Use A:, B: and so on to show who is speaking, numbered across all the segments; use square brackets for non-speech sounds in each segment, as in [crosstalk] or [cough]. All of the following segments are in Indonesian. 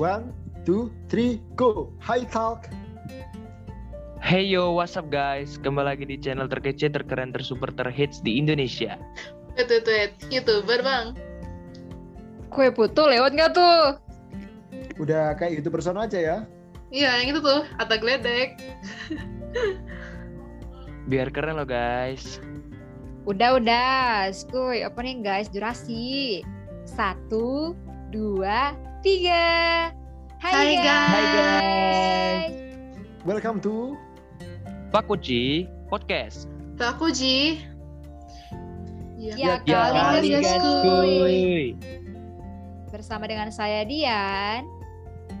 A: One, two, three, go. Hi Talk.
B: Hey yo, what's up guys? Kembali lagi di channel terkece, terkeren, tersuper, terhits di Indonesia.
C: Wait, wait, wait. Youtuber, Bang.
D: Kue putu lewat nggak tuh?
A: Udah kayak youtuber sono aja ya.
C: Iya, yang itu tuh. Ata Gledek.
B: Biar keren loh guys.
D: Udah udah, skuy opening guys durasi satu, dua, tiga.
C: Hai,
D: Hai,
C: guys.
B: Hai, guys.
A: Welcome to
B: Pak Kuci Podcast.
C: Taku Ji. Iya.
D: Ya, kali
C: kali,
D: guys,
C: Skuy.
D: skuy. Bersama dengan saya Dian.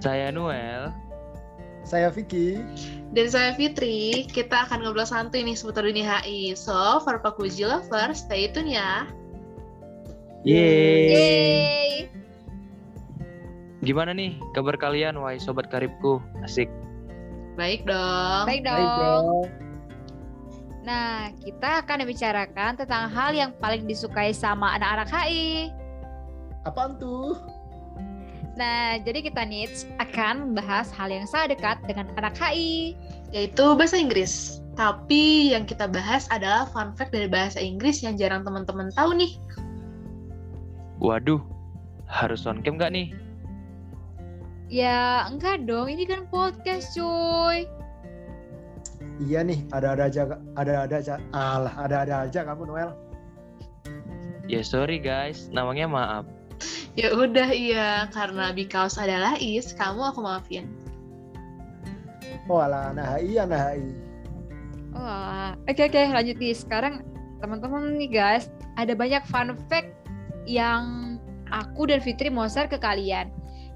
B: Saya Noel.
A: saya Vicky.
C: Dan saya Fitri, kita akan ngobrol santuy nih seputar dunia HI. So, for Paku Ji lover, stay tune ya.
B: Yeay.
D: Yeay.
B: Gimana nih kabar kalian wahai sobat karibku? Asik.
C: Baik dong.
A: Hai,
D: Baik dong. Nah, kita akan membicarakan tentang hal yang paling disukai sama anak-anak HI.
A: Apaan tuh?
D: Nah, jadi kita Nits akan membahas hal yang sangat dekat dengan anak HI.
C: Yaitu bahasa Inggris. Tapi yang kita bahas adalah fun fact dari bahasa Inggris yang jarang teman-teman tahu nih.
B: Waduh, harus on cam gak nih?
D: Ya, enggak dong. Ini kan podcast, cuy.
A: Iya nih, ada-ada aja, ada-ada aja. Alah, ada-ada aja kamu Noel.
B: Ya sorry guys, namanya maaf.
C: Ya udah iya, karena because adalah is, kamu aku maafin.
A: Oh alah, nah, anak HI, anak HI.
D: Wah. Oke, oke. Lanjut nih. Sekarang, teman-teman nih, guys. Ada banyak fun fact yang aku dan Fitri mau share ke kalian.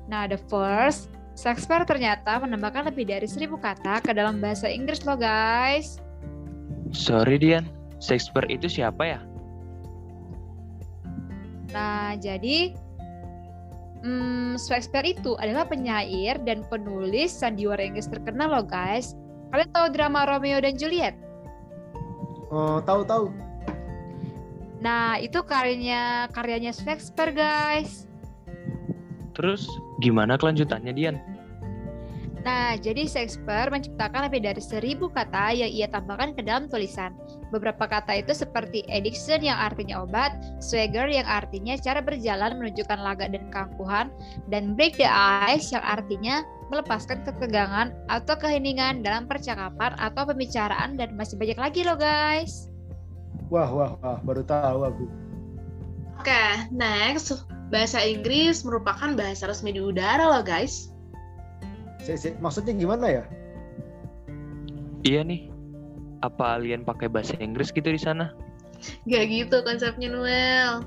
D: Nah, the first, Shakespeare ternyata menambahkan lebih dari seribu kata ke dalam bahasa Inggris loh, guys.
B: Sorry Dian, Shakespeare itu siapa ya?
D: Nah, jadi hmm, Shakespeare itu adalah penyair dan penulis sandiwara Inggris terkenal loh, guys. Kalian tahu drama Romeo dan Juliet?
A: Oh, tahu-tahu.
D: Nah, itu karyanya karyanya Shakespeare, guys.
B: Terus gimana kelanjutannya Dian?
D: Nah, jadi Shakespeare menciptakan lebih dari seribu kata yang ia tambahkan ke dalam tulisan. Beberapa kata itu seperti addiction yang artinya obat, swagger yang artinya cara berjalan menunjukkan laga dan keangkuhan, dan break the ice yang artinya melepaskan ketegangan atau keheningan dalam percakapan atau pembicaraan dan masih banyak lagi loh guys.
A: Wah, wah, wah, baru tahu aku.
C: Oke, next. Bahasa Inggris merupakan bahasa resmi di udara loh guys.
A: Sik, sik, maksudnya gimana ya?
B: Iya nih. Apa alien pakai bahasa Inggris gitu di sana?
C: Gak gitu konsepnya Noel.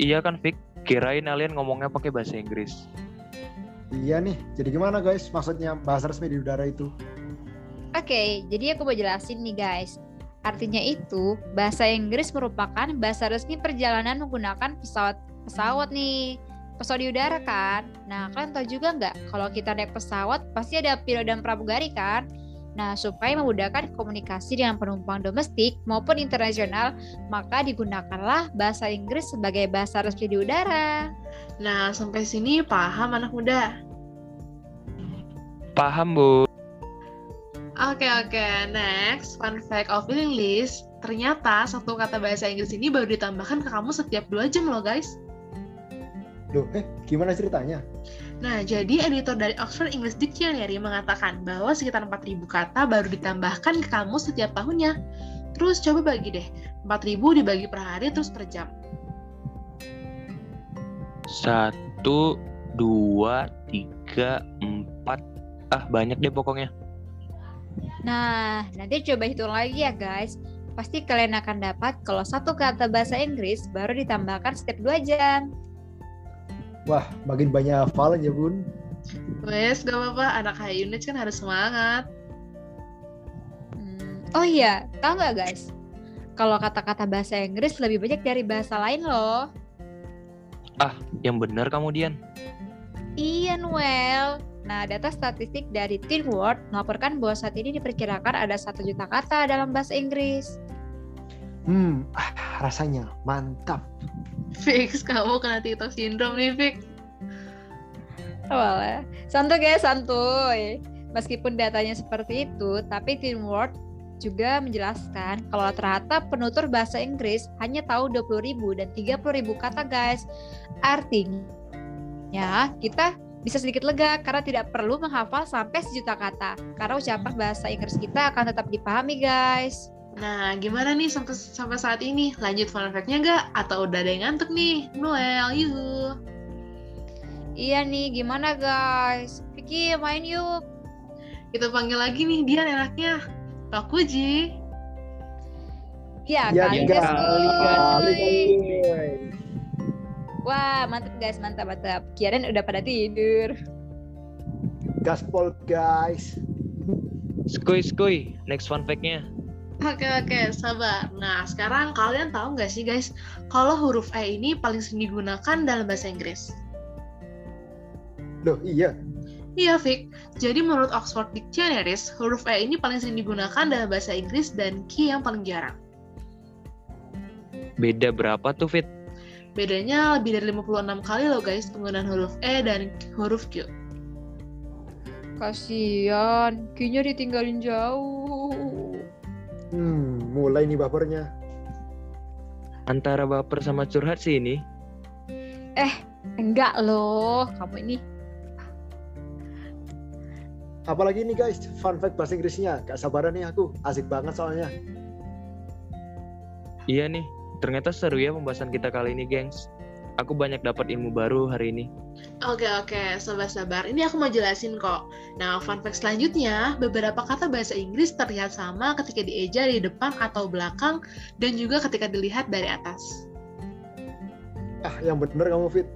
B: Iya kan, Vic? Kirain alien ngomongnya pakai bahasa Inggris.
A: Iya nih, jadi gimana guys? Maksudnya bahasa resmi di udara itu?
D: Oke, jadi aku mau jelasin nih guys. Artinya itu, bahasa Inggris merupakan bahasa resmi perjalanan menggunakan pesawat-pesawat nih. Pesawat di udara kan? Nah, kalian tahu juga nggak kalau kita naik pesawat pasti ada pilot dan pramugari kan? Nah, supaya memudahkan komunikasi dengan penumpang domestik maupun internasional, maka digunakanlah bahasa Inggris sebagai bahasa resmi di udara.
C: Nah, sampai sini paham anak muda.
B: Paham, Bu.
C: Oke, oke. Next, fun fact of English. Ternyata satu kata bahasa Inggris ini baru ditambahkan ke kamu setiap dua jam loh guys.
A: Loh, eh, gimana ceritanya?
C: Nah, jadi editor dari Oxford English Dictionary mengatakan bahwa sekitar 4.000 kata baru ditambahkan ke kamu setiap tahunnya. Terus coba bagi deh, 4.000 dibagi per hari terus per jam.
B: Satu, dua, tiga, empat. Ah, banyak deh pokoknya.
D: Nah, nanti coba hitung lagi ya guys. Pasti kalian akan dapat kalau satu kata bahasa Inggris baru ditambahkan setiap 2 jam.
A: Wah, makin banyak hafalan ya bun.
C: Wes, gak apa-apa. Anak high unit kan harus semangat.
D: Hmm, Oh iya, tahu nggak guys? Kalau kata-kata bahasa Inggris lebih banyak dari bahasa lain loh.
B: Yang benar kamu, Dian.
D: Iya, Noel. Nah, data statistik dari Teen World melaporkan bahwa saat ini diperkirakan ada satu juta kata dalam bahasa Inggris.
A: Hmm, ah, rasanya mantap.
C: Fix, kamu kena TikTok syndrome nih, Fix.
D: Walah. Santuy guys, santuy. Meskipun datanya seperti itu, tapi Teamwork juga menjelaskan kalau ternyata penutur bahasa Inggris hanya tahu 20.000 dan 30.000 kata guys. Artinya kita bisa sedikit lega karena tidak perlu menghafal sampai sejuta kata karena ucapan bahasa Inggris kita akan tetap dipahami guys.
C: Nah, gimana nih sampai, sampai saat ini? Lanjut fun fact-nya nggak? Atau udah ada yang ngantuk nih? Noel, yuhu.
D: Iya nih, gimana guys? Vicky, main yuk.
C: Kita panggil lagi nih Dian enaknya. Pak Puji.
D: Iya,
A: Ya,
D: kali
B: tiga.
D: guys.
B: Kali,
D: Wih. Wah, mantap guys, mantap, mantap. Kirain udah pada tidur.
A: Gaspol guys.
B: Skuy skuy, next fun fact-nya.
C: Oke oke sabar. Nah sekarang kalian tahu nggak sih guys kalau huruf E ini paling sering digunakan dalam bahasa Inggris?
A: Loh iya,
C: Iya Fik. Jadi menurut Oxford Dictionaries huruf E ini paling sering digunakan dalam bahasa Inggris dan Q yang paling jarang.
B: Beda berapa tuh Fit?
C: Bedanya lebih dari 56 kali loh guys penggunaan huruf E dan huruf Q.
D: Kasian, Kinya ditinggalin jauh.
A: hmm, mulai nih bapernya.
B: Antara baper sama curhat sih ini.
D: Eh, Enggak loh, kamu ini.
A: Apalagi nih guys, fun fact bahasa Inggrisnya. Gak sabaran nih aku, asik banget soalnya.
B: Iya nih, ternyata seru ya pembahasan kita kali ini, gengs. Aku banyak dapat ilmu baru hari ini.
C: Oke oke sabar-sabar. Ini aku mau jelasin kok. Nah fun fact selanjutnya beberapa kata bahasa Inggris terlihat sama ketika dieja di depan atau belakang dan juga ketika dilihat dari atas.
A: Ah, yang bener kamu Fit.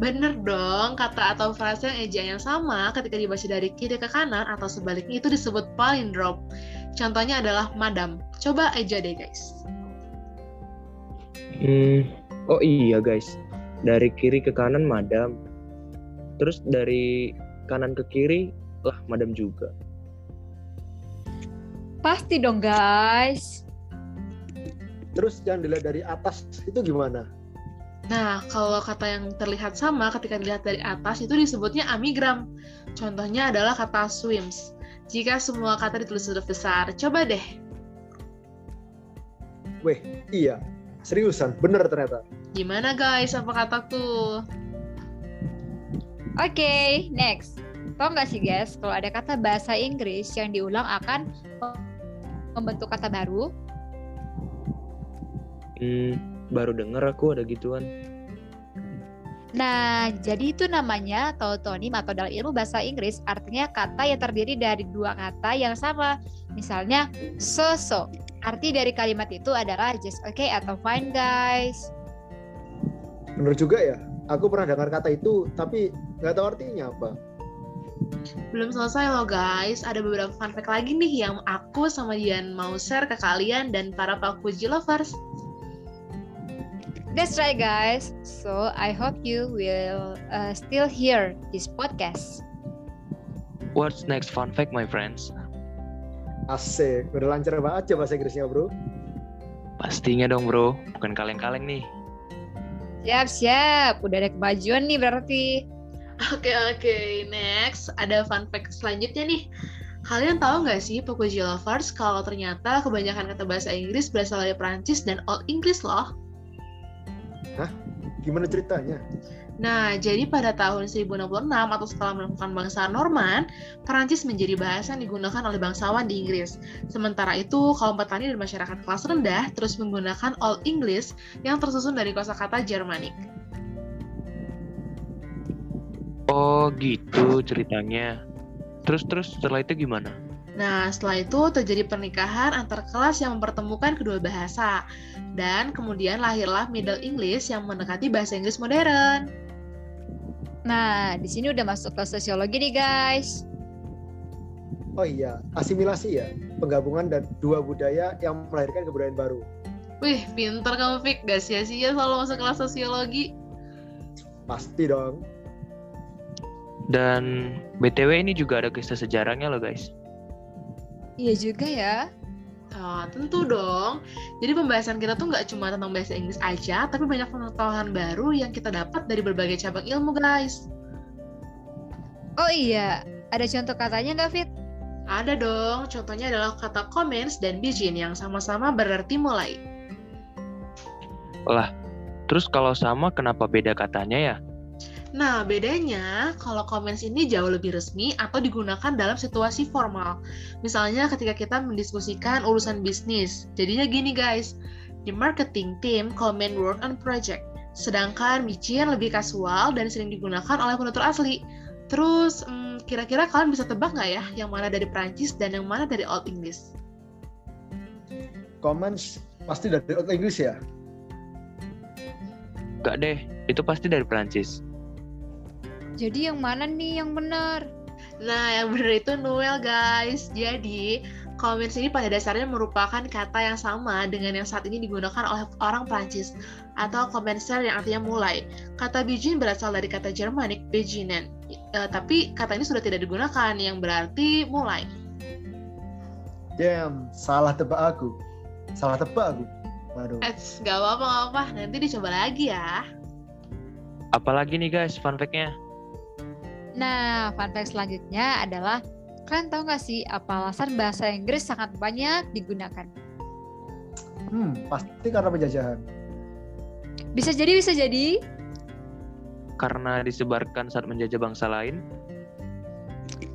C: Bener dong, kata atau frasa yang ejaan yang sama ketika dibaca dari kiri ke kanan atau sebaliknya itu disebut palindrom. Contohnya adalah madam. Coba eja deh guys.
B: Hmm, oh iya guys, dari kiri ke kanan madam, terus dari kanan ke kiri lah madam juga.
D: Pasti dong guys.
A: Terus yang dilihat dari atas itu gimana?
C: Nah, kalau kata yang terlihat sama ketika dilihat dari atas itu disebutnya amigram. Contohnya adalah kata swims. Jika semua kata ditulis huruf besar, coba deh.
A: Weh, iya. Seriusan, bener ternyata.
C: Gimana guys, apa kataku?
D: Oke, next. Tau nggak sih guys, kalau ada kata bahasa Inggris yang diulang akan membentuk kata baru?
B: Hmm, baru denger aku ada gituan.
D: Nah, jadi itu namanya tautonim atau dalam ilmu bahasa Inggris artinya kata yang terdiri dari dua kata yang sama. Misalnya, so-so. Arti dari kalimat itu adalah just okay atau fine guys.
A: Bener juga ya. Aku pernah dengar kata itu, tapi nggak tahu artinya apa.
C: Belum selesai loh guys, ada beberapa fun fact lagi nih yang aku sama Dian mau share ke kalian dan para pakuji lovers. [laughs]
D: That's right, guys. So I hope you will uh, still hear this podcast.
B: What's next fun fact, my friends?
A: Asik, udah lancar banget ya bahasa Inggrisnya bro.
B: Pastinya dong bro, bukan kaleng-kaleng nih.
D: Siap, siap. Udah ada kemajuan nih berarti.
C: Oke oke, next ada fun fact selanjutnya nih. Kalian tahu nggak sih Pakuji lovers kalau ternyata kebanyakan kata bahasa Inggris berasal dari Perancis dan Old English loh.
A: Gimana ceritanya?
C: Nah, jadi pada tahun 1066 atau setelah melakukan bangsa Norman, Perancis menjadi bahasa yang digunakan oleh bangsawan di Inggris. Sementara itu, kaum petani dan masyarakat kelas rendah terus menggunakan Old English yang tersusun dari kosakata Jermanik.
B: Oh gitu ceritanya. Terus-terus setelah itu gimana?
C: Nah, setelah itu terjadi pernikahan antar kelas yang mempertemukan kedua bahasa. Dan kemudian lahirlah Middle English yang mendekati bahasa Inggris modern.
D: Nah, di sini udah masuk ke sosiologi nih, guys.
A: Oh iya, asimilasi ya. Penggabungan dan dua budaya yang melahirkan kebudayaan baru.
C: Wih, pinter kamu Fik. Gak sia-sia selalu masuk kelas sosiologi.
A: Pasti dong.
B: Dan BTW ini juga ada kisah sejarahnya loh guys.
D: Iya juga ya.
C: Ah, tentu dong. Jadi pembahasan kita tuh nggak cuma tentang bahasa Inggris aja, tapi banyak pengetahuan baru yang kita dapat dari berbagai cabang ilmu, guys.
D: Oh iya, ada contoh katanya nggak Fit?
C: Ada dong, contohnya adalah kata comments dan begin yang sama-sama berarti mulai.
B: Lah, terus kalau sama kenapa beda katanya ya?
C: Nah, bedanya kalau comments ini jauh lebih resmi atau digunakan dalam situasi formal. Misalnya ketika kita mendiskusikan urusan bisnis. Jadinya gini guys, di marketing team comment work on project. Sedangkan micin lebih kasual dan sering digunakan oleh penutur asli. Terus, hmm, kira-kira kalian bisa tebak nggak ya yang mana dari Perancis dan yang mana dari Old English?
A: Comments pasti dari Old English ya.
B: Gak deh, itu pasti dari Prancis.
D: Jadi yang mana nih yang benar?
C: Nah, yang benar itu Noel, guys. Jadi, comments ini pada dasarnya merupakan kata yang sama dengan yang saat ini digunakan oleh orang Prancis atau commencer yang artinya mulai. Kata begin berasal dari kata Jermanik beginen. Eh, tapi kata ini sudah tidak digunakan yang berarti mulai.
A: Damn, salah tebak aku. Salah tebak aku. Waduh.
C: Eits, gak apa-apa, nggak apa-apa. Nanti dicoba lagi ya.
B: Apalagi nih guys, fun fact-nya.
D: Nah, fun fact selanjutnya adalah kalian tahu nggak sih apa alasan bahasa Inggris sangat banyak digunakan?
A: Hmm, pasti karena penjajahan.
D: Bisa jadi, bisa jadi.
B: Karena disebarkan saat menjajah bangsa lain,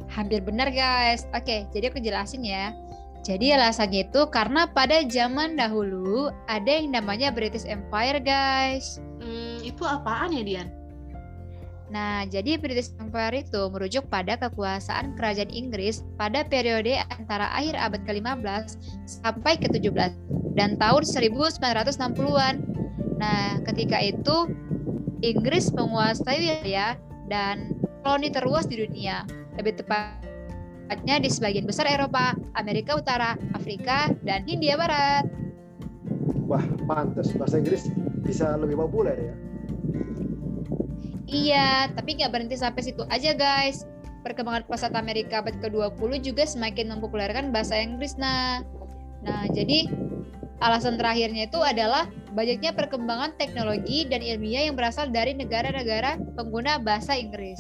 D: Hampir benar guys. Oke, jadi aku jelasin ya. Jadi alasannya itu karena pada zaman dahulu ada yang namanya British Empire guys.
C: Hmm, itu apaan ya, Dian?
D: Nah, jadi British Empire itu merujuk pada kekuasaan kerajaan Inggris pada periode antara akhir abad ke-15 sampai ke-17 dan tahun 1960-an. Nah, ketika itu Inggris menguasai wilayah dan koloni terluas di dunia, lebih tepatnya di sebagian besar Eropa, Amerika Utara, Afrika, dan Hindia Barat.
A: Wah, pantas bahasa Inggris bisa lebih populer ya.
D: Iya, tapi nggak berhenti sampai situ aja guys. Perkembangan pasar Amerika abad ke-20 juga semakin mempopulerkan bahasa Inggris. Nah, nah jadi alasan terakhirnya itu adalah banyaknya perkembangan teknologi dan ilmiah yang berasal dari negara-negara pengguna bahasa Inggris.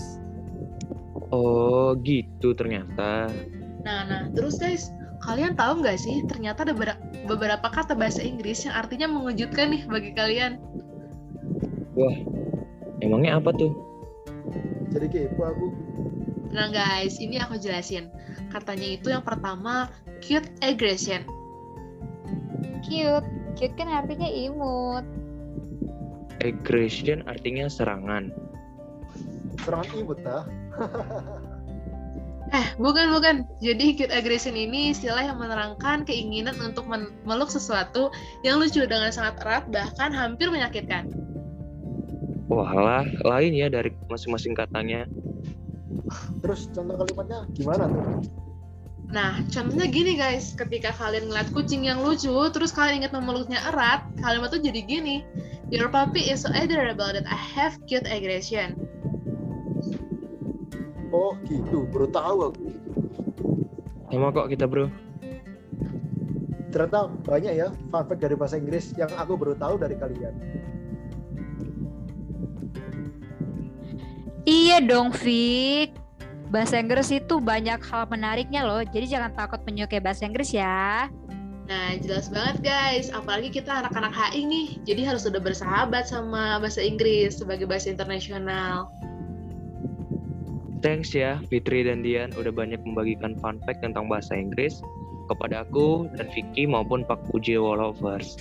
B: oh gitu ternyata.
C: Nah, nah, terus guys, kalian tahu nggak sih ternyata ada bera- beberapa kata bahasa Inggris yang artinya mengejutkan nih bagi kalian.
B: Emangnya apa tuh?
A: Jadi kepo aku.
C: Nah guys, ini aku jelasin. Katanya itu yang pertama cute aggression.
D: Cute, cute kan artinya imut.
B: Aggression artinya serangan.
A: Serangan imut ah.
C: Eh, bukan bukan. Jadi cute aggression ini istilah yang menerangkan keinginan untuk men- meluk sesuatu yang lucu dengan sangat erat bahkan hampir menyakitkan.
B: Walah, lain ya dari masing-masing katanya.
A: Terus contoh kalimatnya gimana tuh?
C: Nah, contohnya gini guys, ketika kalian ngeliat kucing yang lucu, terus kalian ingat memeluknya erat, kalimat tuh jadi gini. Your puppy is so adorable that I have cute aggression.
A: Oh gitu, baru tahu aku.
B: Sama kok kita bro.
A: Ternyata banyak ya fun fact dari bahasa Inggris yang aku baru tahu dari kalian.
D: Iya dong, Fik. Bahasa Inggris itu banyak hal menariknya loh, jadi jangan takut menyukai bahasa Inggris ya.
C: Nah, jelas banget guys, apalagi kita anak-anak HI nih, jadi harus udah bersahabat sama bahasa Inggris sebagai bahasa internasional.
B: Thanks ya Fitri dan Dian udah banyak membagikan fun fact tentang bahasa Inggris kepada aku dan Vicky maupun Pak Puji Wallovers.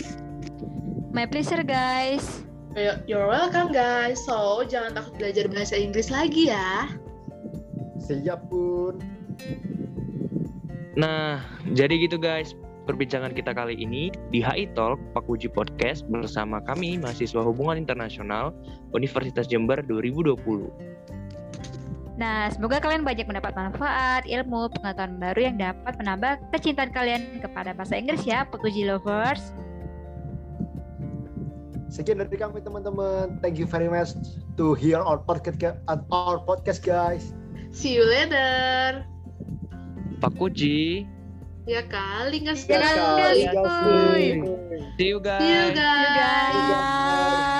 D: My pleasure, guys.
C: Yo- You're welcome guys, so jangan takut belajar bahasa Inggris lagi ya.
A: Siap pun.
B: Nah, jadi gitu guys perbincangan kita kali ini di HI Talk Pak Puji Podcast bersama kami mahasiswa hubungan internasional Universitas Jember 2020.
D: Nah, semoga kalian banyak mendapat manfaat, ilmu, pengetahuan baru yang dapat menambah kecintaan kalian kepada bahasa Inggris ya, Petuji Lovers.
A: Sekian dari kami teman-teman. Thank you very much to hear our podcast our podcast guys.
C: See you later.
B: Pak Puji,
C: Ya kali nggak
D: Jangan
C: sekali.
D: sekali.
A: Kuy.
B: See you guys.
C: See you guys.
D: guys.